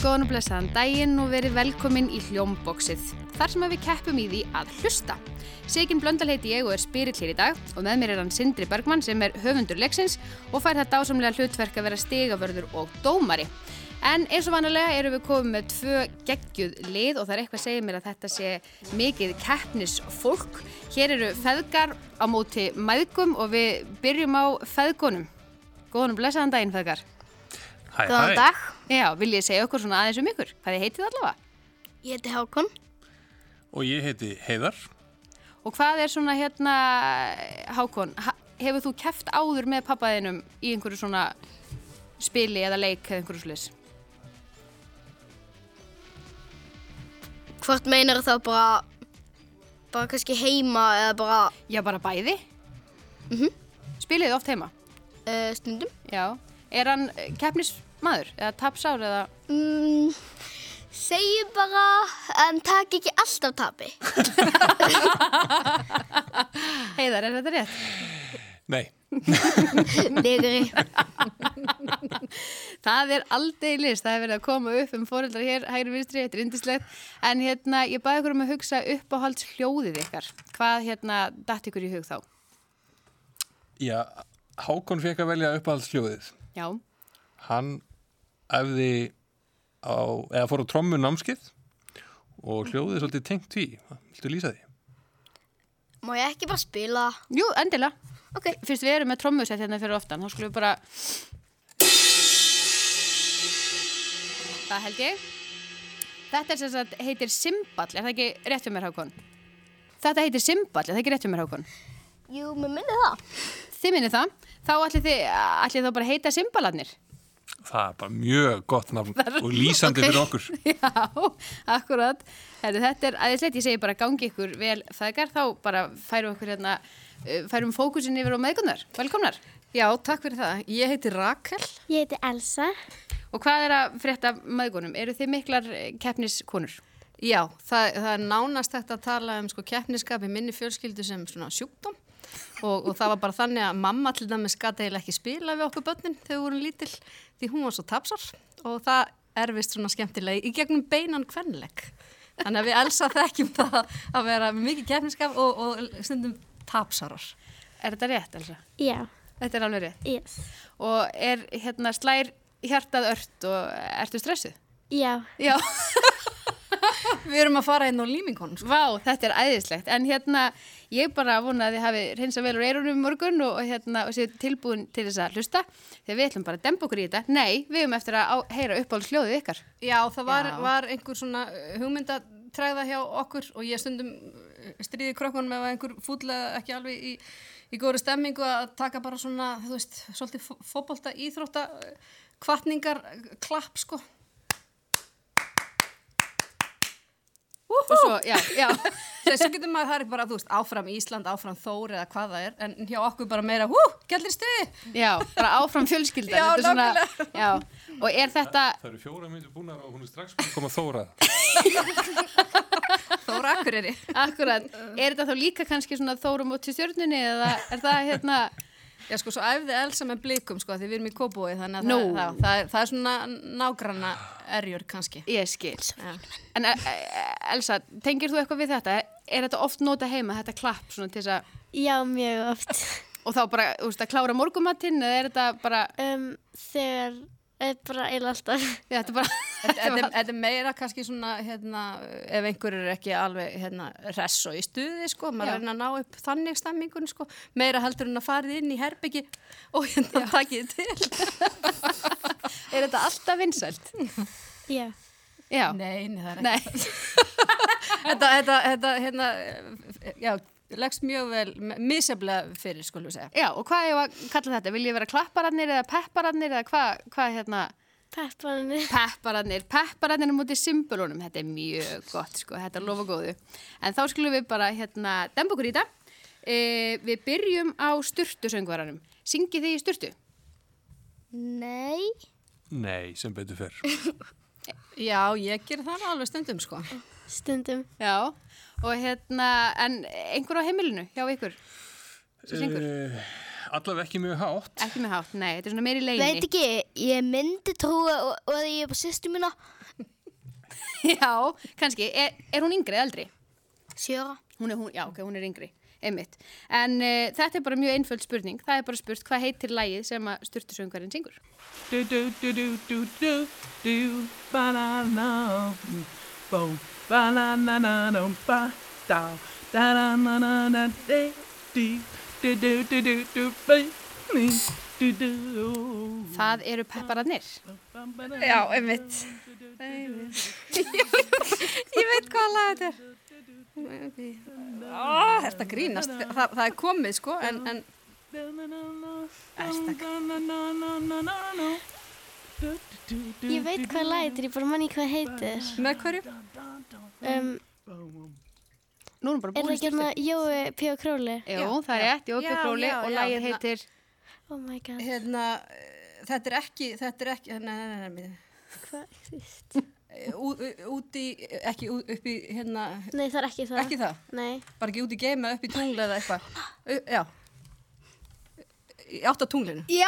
Góðan og blessaðan daginn og verið velkomin í Hljómboksið, þar sem að við keppum í því að hlusta. Sigin Blöndal heiti ég og er spyrill hér í dag og með mér er hann Sindri Bergmann sem er höfundur leiksins og fær þetta ásamlega hlutverk að vera stigavörður og dómari. En eins og vanalega erum við komið með tvö geggjuð lið og það er eitthvað að segja mér að þetta sé mikið keppnisfólk. Hér eru feðgar á móti mæðgum og við byrjum á feðgunum. Góðan og blessaðan daginn feðgar. Hæ, Góðan dag, Já, vil ég segja okkur svona aðeins um ykkur? Hvað þið heitið allavega? ég heiti Hákon. Og ég heiti Heiðar. Og hvað er svona hérna, Hákon, ha- hefur þú keft áður með pappaðinum í einhverju svona spili eða leik eða einhverju slis? Hvort meinar þá bara, bara kannski heima eða bara Já, bara bæði. Mm -hmm. Spiliði oft heima? uh, stundum? Já. Er hann eh, keppnismadur eða tapsár eða... Mm, segi bara en takk ekki alltaf tapi. Heiðar, er þetta rétt? Nei, Negri. Það er aldrei list, það er verið að koma upp um foreldrar hér, hægri vinstri, þetta er indislegt. En hérna, ég baði ykkur um að hugsa uppáhalds hljóðið ykkar. Hvað hérna datt ykkur í hug þá? já, Hákon fekk að velja uppáhaldsljóðið. Já, Hann efði á, eða fór á trommu námskið og hljóðið er svolítið tengt því. Viltu lýsa því? Má ég ekki bara spila? jú, endilega. Ok. Fyrst við erum með trommusett hérna fyrir oftan, þá skulum við bara... Það held ég. Þetta er sem sagt, heitir Simball, er það ekki rétt fyrir mér, Hákon? Þetta heitir Simball, er það ekki rétt fyrir mér, Hákon? Jú, mér minni það. Þið minnið það, þá ætlið þið, ætlið þá bara að heita Simballarnir. Það er bara mjög gott nafn og lýsandi Ok. fyrir okkur. Já, akkurat. Heru, þetta er aðeinsleitt, ég segi bara gangi ykkur vel þegar, þá bara færum okkur hérna, eh, færum fókusin yfir á meðgunar. Velkomnar. Já, takk fyrir það. Ég heiti Rakel. Ég heiti Elsa. Og hvað er að frétta af meðgunum? Eru þið miklar eh, keppniskonur? Já, það, það er nánast þetta að tala um sko keppniskap í minni fjölskyldu sem svona sjúkdóm og, og það var bara þannig að mamma til dæmis gata eiginlega ekki spila við okkur börnin þegar við vorum lítil því hún var svo tapsar og það er vist svona skemmtilega í gegnum beinan kvenleg. Þannig að við elsa þekkjum það að vera mikið keppniskap og, og stundum tapsarar. Er þetta rétt, Elsa? Já, Þetta er alveg rétt. yes. Og er hérna slær hjartað ört og ertu stressuð? Já, Já. Við erum að fara inn á líminkonum sko. Vá, þetta er æðislegt. En hérna, ég bara vona að þið hafi reynsa vel úr eyrunum í morgun og, og, hérna, og séu tilbúin til þess að hlusta. Þegar við ætlum bara að dempa okkur í þetta. Nei, við höfum eftir að á, heyra uppáhalds hljóðið ykkar. Já, það var, Já. var einhver svona uh, hugmyndatræða hjá okkur og ég stundum eh, stríði krökkunum ef einhver fútlega ekki alveg í, í góðri stemmingu að taka bara svona, þú veist, svolítið fótbolta íþrótta kvartningar klapp, sko. Og svo, já, já. Þessu getur maður það er bara, þú veist, áfram Ísland, áfram Þór eða hvað það er, en hjá okkur bara meira, hú, gældir stuði. Já, bara áfram fjölskyldan. Já, Þetta er Já, og er þetta, Það eru fjóra myndir búnar og hún er strax búin að koma þórað. Þóra akkur er ég. akkurat, er þetta þá líka kannski svona þórum út til stjörnunni eða er það hérna... Já, sko, svo æfði Elsa með blikum, sko, því við erum í Kóbói, þannig að Nú. það, það, það, er, það er svona nágranna erjur kannski. Ég skil. Já. En eh, eh, Elsa, tengir þú eitthvað við þetta? Er þetta oft nota heima, þetta klapp svona til þess að... já, mjög oft. Og þá bara, þú veist, að klára morgumattinn eða er þetta bara, Um, þegar, er bara eila alltaf. já, þetta er bara, Þetta er- þetta er meira kannski svona, hérna, ef einhverjur er ekki alveg, hérna, hress og í stuði, sko, Já. maður reyna að ná upp þannig stemmingun, sko, meira heldur en að farið inn í herbyggi og hérna takið til. er þetta alltaf vinsælt? Já, Já, Nei, nei, það er nei, ekki. Þetta, þetta, þetta, hérna, eh, já, leggst mjög vel, misjaflega fyrir, sko, við segja. já, og hvað er að kalla þetta? Vil ég vera klapparannir eða pepparannir eða hvað, hvað hérna? pepparinu. Pepparannir, pepparannir á móti symbolunum, þetta er mjög gott, sko, þetta er lofa góðu. En þá skulum við bara, hérna, demba okkur í þetta. E, við byrjum á styrtusöngvaranum. Syngið þið í styrtu? Nei. Nei, sem betur fer. Já, ég ger það alveg stundum, sko. Stundum. Já, og hérna, en einhver á heimilinu hjá ykkur? Sem syngur? Uh, allavega ekki mjög hátt. Ekki með hátt, nei, þetta er svona meiri leini. Veit ekki, ég myndi trúa og, og ég er bara sýstu mína Já, kannski. Er, er hún yngri eða eldri? Sjöra. Hún er, hún, já, ok, hún er yngri. Einmitt. En uh, þetta er bara mjög einföld spurning. Það er bara spurt hvað heitir lægið sem að styrtusöngvarinn syngur. do do do do do do do banana boom banana na na ba da da na na na na de de do do do do do ba me oh, do do Það eru peppararnir. yeah einmitt. Ég veit hvað lag þetta er. Oh, þetta grínast, Þa, það er komið sko en, en Ég veit hvað lagið þetta er, ég bara manni hvað heitir. með hverju? Um, Nú erum bara er búin að það ekki styrta. hérna Jói P. og Króli? Jú, það er rétt, Jóki Já, Króli já, og já, lægið hérna. heitir Oh my god. Hérna, eh, þetta er ekki, þetta er ekki, nei, nei, nei, nei, Hvað exist? eh, ú- ú- út í, ekki ú- upp í, hérna, Nei, það er ekki það. ekki það, Nei. bara ekki út í geima, upp í tungla eða eitthvað, Ö, já, í átt að tunglinu. Já!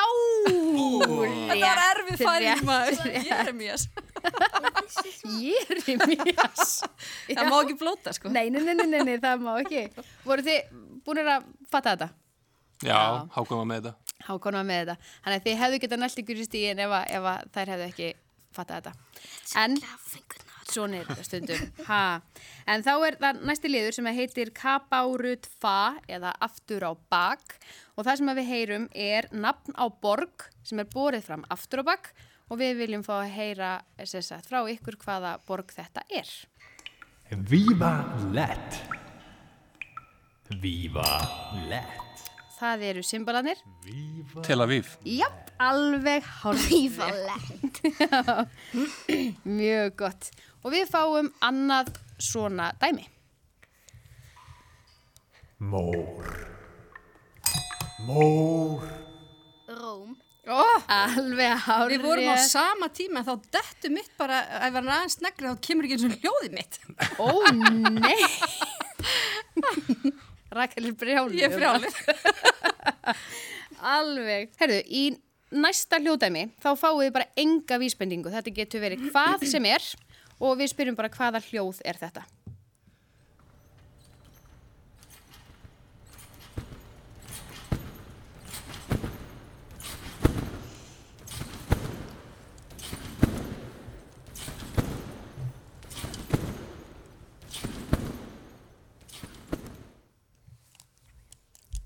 Þetta var erfið Rétt, færing maður, Jeremías, Jeremías. það má ekki blóta sko. Nei, nei, nei, nei, nei, nei, það má ekki. Voru þið búin að fatta þetta? Já, hákum var með þetta. Hákon var með þetta. Þannig að þið hefðu getað nælt ykkur í stíðin ef, að- ef að þær hefðu ekki fattað þetta. En svona er þetta stundum. Ha. En þá er það næsti liður sem að heitir Kabárut Fa eða Aftur á bak og það sem að við heyrum er nafn á borg sem er borið fram aftur á bak og við viljum fá að heyra sem sagt, frá ykkur hvaða borg þetta er. Viva let. Viva let. Það eru symbolanir. Tel Aviv. Japp, alveg hálf. Mjög gott. Og við fáum annað svona dæmi. Mór. Mór. Róm. Oh, Alveg hárið. við vorum á sama tíma en þá dettu mitt bara, ef það var aðeins negri þá kemur ekki eins og hljóðið mitt. Ó, nei. Rakel er brjálið. Ég er frjálið. Alveg. Herðu, í næsta hljóðdæmi þá fáum við bara enga vísbendingu. Þetta getur verið hvað sem er og við spyrjum bara hvaða hljóð er þetta.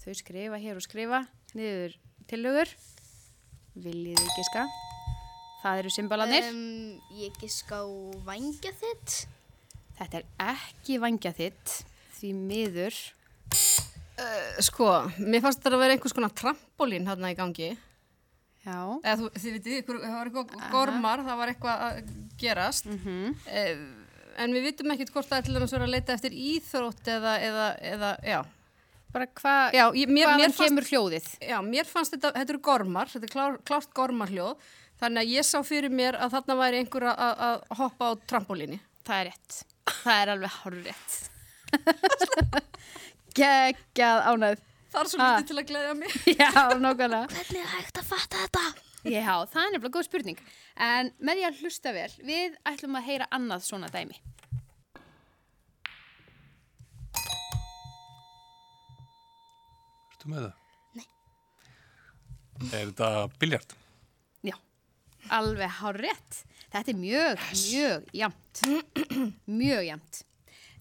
Þau skrifa hér og skrifa niður tillögur. Viljið þið giska? Það eru symbolanir. Um, ég giska á vangja þitt. Þetta er ekki vangja þitt því miður. Sko, mér fannst þetta að vera einhvers konar trampolín hérna í gangi. Já. Eða, þú, þið veitir, ykkur- það var eitthvað gormar, það var eitthvað að gerast. eh, en við vitum ekkert hvort það er til dæmis verið að leita eftir íþrótt eða, eða, eða já. Bara hva, Já, ég- mér- hvaðan mér fannst- kemur hljóðið? já, mér fannst þetta, þetta eru gormar, þetta er klár, klárt gormarhljóð. Þannig að ég sá fyrir mér að þarna væri einhver að- að að hoppa á trampolíni. Það er rétt. Það er alveg hárrétt. Gekkað ánæð. Það er svo Ah. lítið til að gleðja mig. Já, nákvæmlega. Hvernig er hægt að fatta þetta? Já, það er nefnilega góð spurning. En með því að hlusta vel, við ætlum að heyra annað svona dæmi. Ertu með það? Nei. Er þetta biljart? Já, alveg hárrétt. Þetta er mjög, mjög jamt. mjög jamt.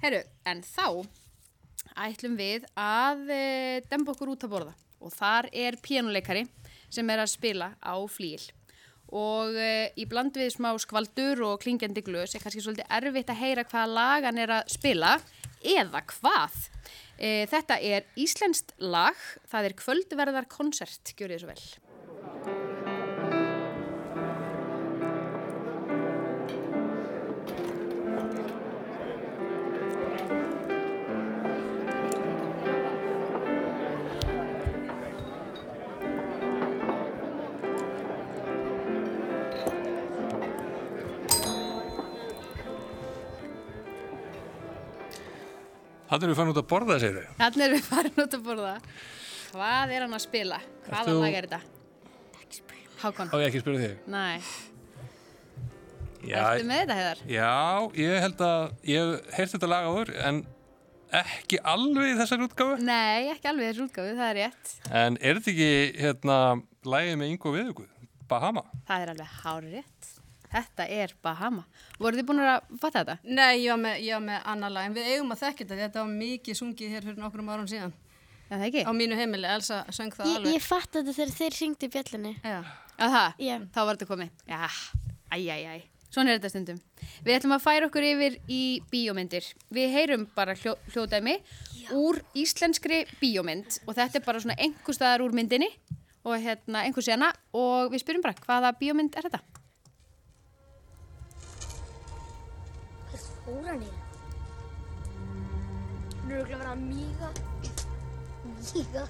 Herru, en þá ætlum við að eh, demba okkur út að borða og þar er pjánuleikari sem er að spila á flíl og eh, í bland við smá skvaldur og klingjandi glös er kannski svolítið erfitt að heyra hvaða lag hann er að spila eða hvað. E, þetta er íslenskt lag, það er kvöldverðarkonsert, gjör þið svo vel. Þannig erum við fann út að borða þessi eru. Þannig erum við farin út að borða. Hvað er hann að spila? Hvaða Ert þú- lag er þetta? Hákon. Á ég ekki að spyrja þig. Næ. Ertu með þetta, Heðar? Já, ég held að ég hef heyrt þetta lag áður en ekki alveg í þessari útgáfu Nei, ekki alveg þessu útgáfu, það er rétt. en er þetta ekki hérna lagið með Ingo Viðugu, Bahama Það er alveg hár rétt. Þetta er Bahama. Voruð þið búin að fatta þetta? Nei, ég var með, ég var með annar lag, en við eigum að þekkja þetta, því þetta var mikið sungið hér fyrir nokkrum árum síðan. Er það ekki? Á mínu heimili, Elsa söng það Ég, alveg. ég fatt þetta þegar þeir syngdu í bjöllunni. Já. Á það? Já. Þá var þetta komið. Já, æj, æj, æj. Svona er þetta stundum. Við ætlum að færa okkur yfir í bíómyndir. Við heyrum bara hljó, hljóðdæmi úr íslenskri bíómynd og þetta er bara svona einhver staðar úr myndinni og hérna einhver sena og við spyrjum bara hvaða bíómynd er þetta? Hvað fór hann í það? Hann er auðvitað að vera að míga. Míga.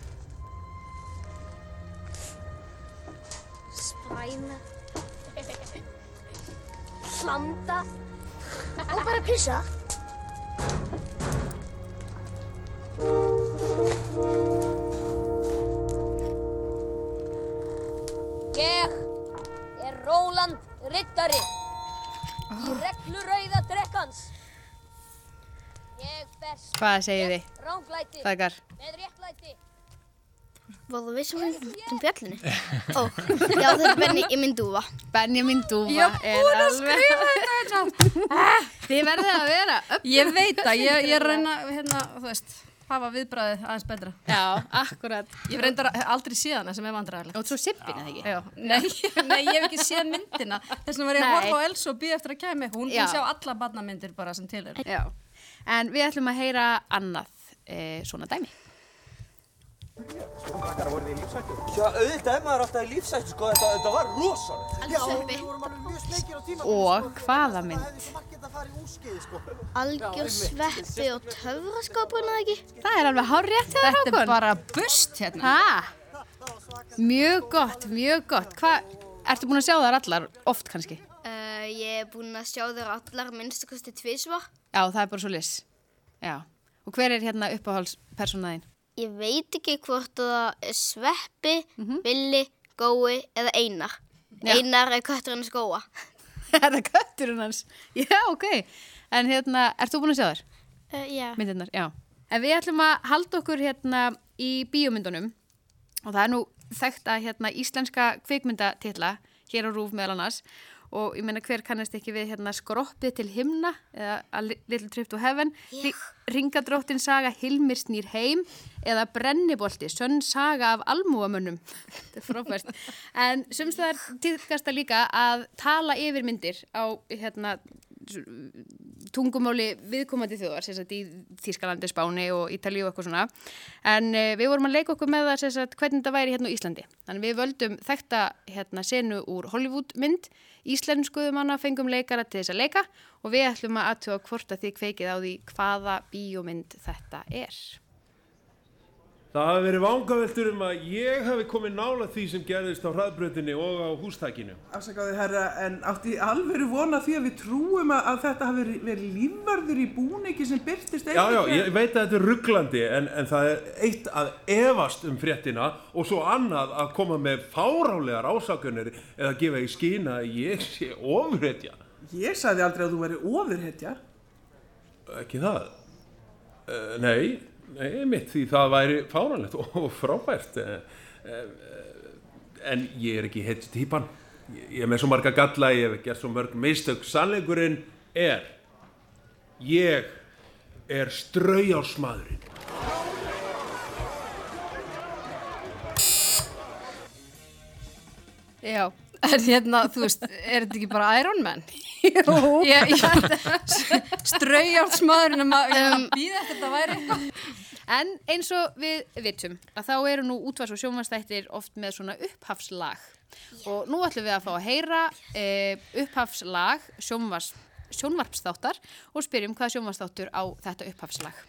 Spræna. Hlanda. Og bara pissa. Ég er Róland Rittari í reglurauða drekkans. Ég berst Hvað segir þið? ránglæti Þakkar. með réttlæti. Var þú vissum hún um bjöllunni? Ó, já þetta er benni í minn dúfa. Benjamin Dúfa er alveg... Ég búin að skrifa þetta hérna. Þið verðið að vera upp. Ég veit að ég, ég reyna, hérna, þú veist, hafa viðbræðið aðeins betra. Já, akkurat. Ég reyndar aldrei síðan það sem er vandræðilegt. Og svo sippin eða ekki? Já, nei, nei, ég hef ekki séð myndina Þess vegna var ég að Nei. horfa á Elsa og býða eftir að kæmi Hún Já. kan sjá alla barnamyndir bara sem til er Já, en við ætlum að heyra annað e, svona dæmi. Já, auðvitað er maður alltaf í lífsætt, sko, þetta, þetta var rosalegt. Og hvaða mynd? Algjör sveppi og töfraskapun eða ekki? Það er alveg hár rétt hjá þér Þetta er ákvörn. bara bust hérna Ha? Mjög gott, mjög gott. Hvað, ertu búin að sjá þar allar oft kannski? Uh, ég er búin að sjá þér allar minnstakosti tvísvar. Já, það er bara svo lis. Já. Og hver er hérna uppáhaldspersonaðin? Ég veit ekki hvort það er sveppi, villi, gói eða einar. Einar er kötturinn í skóa. er það kötturinn hans? Já, ok. En hérna, ert þú búin að sjá þar? Uh, já. myndirnar, já. En við ætlum að halda okkur hérna í bíómyndunum og það er nú þekkt að hérna íslenska kvikmyndatitla hér á Rúf meðal annars og ég meina hver kannast ekki við hérna skroppið til himna eða A Little Trip to Heaven yeah. Ringadróttin saga Hilmir snýr heim eða Brennibolti, sönn saga af almúamönnum þetta er frábært en sumstaðar týðkasta líka að tala yfir myndir á hérna tungumáli viðkomandi þjóðar sem sagt í Þýskalandi, Spáni og Ítalíu og eitthvað svona en uh, við vorum að leika okkur með það sem sagt hvernig þetta væri hérna á Íslandi þannig við völdum þekta hérna senu úr Hollywoodmynd íslenskuðum um hana fengum leikara til þess að leika og við ætlum að aðtjóa hvort að þið kveikið á því hvaða bíómynd þetta er Það hafi verið vangaveltur um að ég hafi komið nála því sem gerðist á hraðbrötinni og á hústækinu. Afsakaðu herra, en átti í alvöru vona því að við trúum að, að þetta hafi verið- verið lífvarður í búningi sem byrtist Já, já, ég veit að þetta er rugglandi en, en það er eitt að efast um fréttina og svo annað að koma með fárálegar ásakunir eða gefa í skýna að ég sé ofréttja. Ég sagði aldrei að þú væri ofurhetja. Ekki það? Uh, nei, nei, mitt því það væri fáránlegt og frábært. Uh, en ég er ekki heitt típan. Ég, ég er með svo marga galla, ég hef gert svo mörg mistök. Sannleikurinn er, ég er straujásmaðurinn. Já, En hérna, þú veist, er þetta ekki bara Iron Man? Jú Straujársmaðurinn um að um, býða eftir þetta væri en eins og við vitum að þá eru nú útvars og sjómanstættir oft með svona upphafslag og nú ætlum við að fá að heyra e, upphafslag sjónvars, sjónvarpsþáttar og spyrjum hvað sjónvarpsþáttur á þetta upphafslag.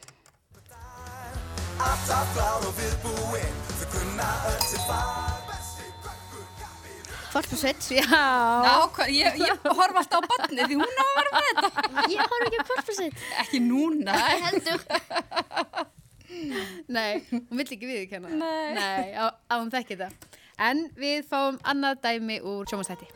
Fólk og sveit. Já, Ná, hva, ég, ég horf alltaf á barnið því hún á að vera með þetta Ég horf ekki á korpusitt. Ekki núna Heldur. nei, hún vill ekki viðurkenna það. Nei, á, á hún þekki það. En við fáum annað dæmi úr sjómanstætti.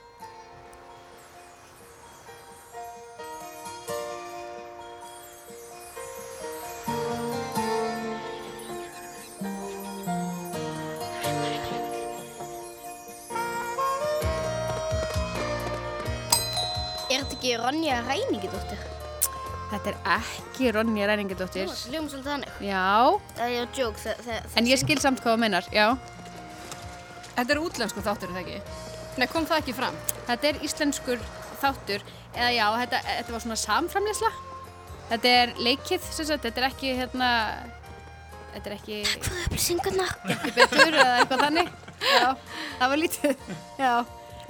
ekki Ronja Ræningidóttir? Þetta er ekki Ronja Ræningidóttir. Þú hljóðum svolítið þannig. Já, Það er að jók þegar... en ég skil samt hvað þú meinar, já. Þetta er útlensku þáttur, er það ekki? Nei, kom það ekki fram? Þetta er íslenskur þáttur, eða já, þetta, þetta var svona samframlýsla. Þetta er leikið, sem sagt, þetta er ekki, hérna, þetta er ekki Hvað er upplýsingarnar? ekki betur eða eitthvað þannig. Já, það var lítið, já.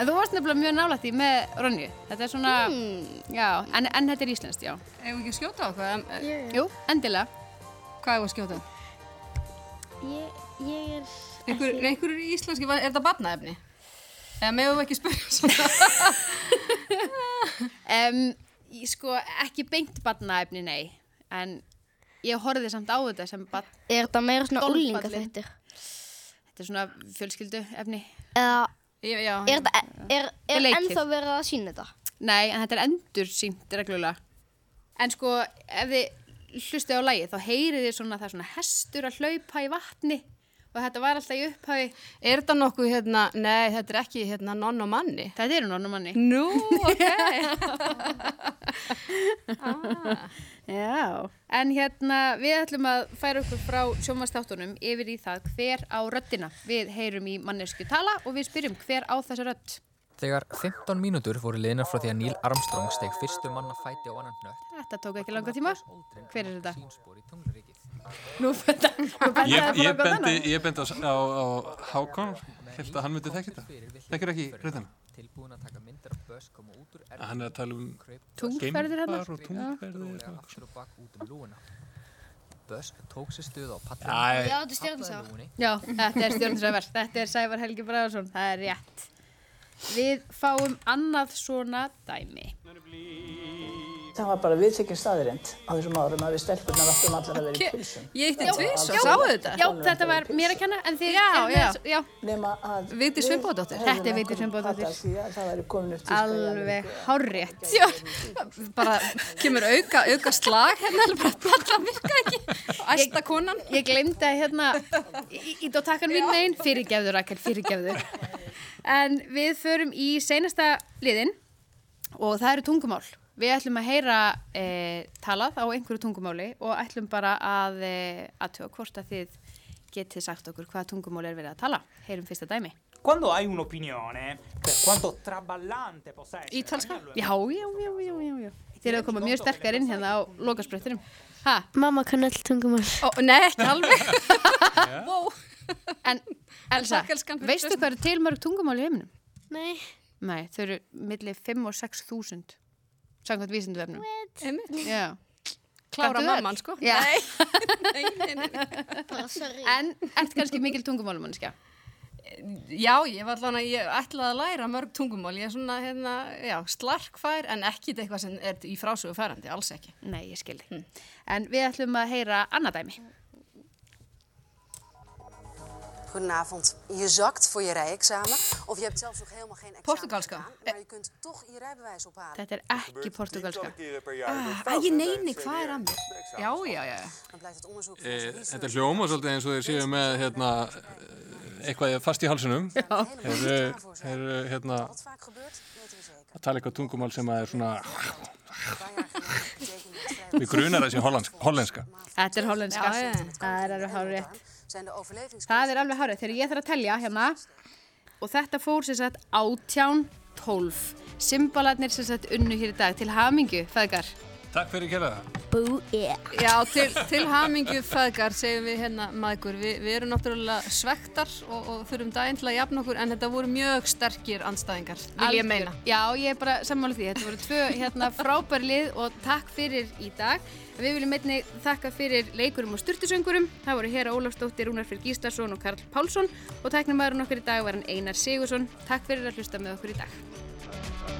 En þú varst nefnilega mjög nálægt í með Ronju. Þetta er svona, Hmm. já, en, en þetta er íslenskt, já. Ef við ekki að skjóta á hvað? Jú, jú. Jú, endilega. Hvað er að skjóta á? Ég, ég er... Einhver, ekki- einhver íslenski, var- er þetta barnaefni? Eða meðum við ekki spyrja svona? Um, ég sko, ekki beint barnaefni, nei. En ég horfði samt á þetta sem barn. Er þetta meira svona Golfballinn. úlinga þetta? Þetta er svona fjölskyldu efni. Eða Ég- Já, er, þetta, er, er leikið. ennþá verið að sína þetta? Nei, en þetta er endur sínt reglulega. En sko, ef þið hlustið á lagið, þá heyrið þið svona, það er svona hestur að hlaupa í vatni og þetta var alltaf í upphafi. er þetta nokkuð hérna, nei, þetta er ekki hérna nonn og manni. Þetta eru nonum manni. Nú, ok. Ah. Já. En hérna, við ætlum að færa okkur frá sjómanstáttunum yfir í það hver á röddina. Við heyrum í mannesku tala og við spyrjum hver á þessa rödd. Þegar 15 mínútur voru liðnar frá því að Neil Armstrong steg fyrstu manna fæti á annan hnött Þetta tók ekki langa tíma. Hver er þetta? Nú benda, nú benda Ég, ég eitthvað annað. bendi, ég bendi á, á, á Hákon, held að hann myndi þekki þetta. Þekkir ekki reyðina? Tilbúin að taka myndir af Buzz koma út úr erfið Hann er að tala um Tunglferðir hérna? geimfar og tungferðir. og eitthvað. aftur og bak út um lúuna. Buzz tók sér stuð á Já, pallinu. já. Já, þetta er stjórnsáð. Já, þetta er stjórnsævar. Þetta er Sævar Helgi Bræðarsson. Það er rétt. Við fáum annað svona dæmi. Það var bara viðtekinn staðirind á þessum árum að við stelpurnar áttum allar að vera í pilsum. Ég eitti tvís já, og sáu þetta. Já, þetta var mér að kenna, en þið Já, eruð með- já. Nefna að... Vigdís Finnbogadóttir. Þetta er Vigdís Finnbogadóttir. Það væri komin upp til alveg hárétt. Já, bara kemur auka, auka slag hérna, alveg bara palla virka ekki. Æsta konan. Ég glemdi að hérna ít á takkan mín megin, fyrirgefðu Rakel, fyrirgefðu. En við förum í seinasta liðin og það eru tungumál. Við ætlum að heyra e, talað á einhverju tungumáli og ætlum bara að e, aðtjóða hvort að þið getið sagt okkur hvaða tungumál er verið að tala. Heyrum fyrsta dæmi. Quando hai un'opinione, per quanto traballante possa essere, Ítalska? Já, já, já, já, já, já. Þið eru að koma mjög sterkar inn hérna á lokasprettinum. Ha, Mamma kann all tungumál. Ó, nei, ekki alveg. wow. en Elsa, Takk, elskan, fyrir veistu tröstin. hvað eru til mörg tungumál í heiminum? Nei. Nei, þau eru millir 5 og 6 þúsund samkvæmt vísinduvefnum. Einmitt. Já. Klára Kanntu öll? mamman, sko. Já. Nei, nei, nei, nei. Bara sorry. En ert kannski mikil tungumálumanniska? Já, ég var allan að ég ætlaði að læra mörg tungumál. Ég er svona, hérna, já, slarkfær en ekki eitthvað sem er í frásögu færandi, alls ekki. Nei, ég skildi. Hm. En við ætlum að heyra annað dæmi. Goedenavond. Je zakt voor je rijexamen of je hebt zelfs nog helemaal geen examen Portugalska. gedaan, maar je kunt toch je rijbewijs ophalen. Þetta er ekki portugalska. Ah, ég neini, hvað er að mér? Já, já, já. Dan blijkt het onderzoek van E, onze þetta er hljóma svolítið eins og þeir séu með hérna, eh, eitthvað fast í halsinum. Þeir eru- þeir eru hérna, Wat vaak gebeurt, weten we zeker. að tala eitthvað tungumál sem að er svona, Een paar jaar geleden betekende het við grunar að sé hollensk- hollenska. Þetta er hollenska. Já, já. Það er alveg hárið. Zijn de overlevingskansen Það er alveg hárið. Þegar ég þarf að telja hérna og þetta fór sem sagt átján tólf. Simbalarnir sem sagt unnu hér í dag til hamingu, feðgar. Takk fyrir kæra það. Bú, yeah. Já, til, til hamingju fæðgar segjum við hérna maðgur. Vi, við erum náttúrulega svektar og, og þurfum daginn til að jafna okkur en þetta voru mjög sterkir anstæðingar, vil ég meina. Algjör. Já, ég er bara sammála því. Þetta voru tvö hérna, frábær lið og takk fyrir í dag. Við viljum einnig þakka fyrir leikurum og styrtusöngurum. Það voru Hera Ólafsdóttir, Rúnar Fyrir Gíslason og Karl Pálsson og tæknumæðurinn okkur í dag var hann Einar Sigursson. Takk fyrir að hlusta með okkur í dag.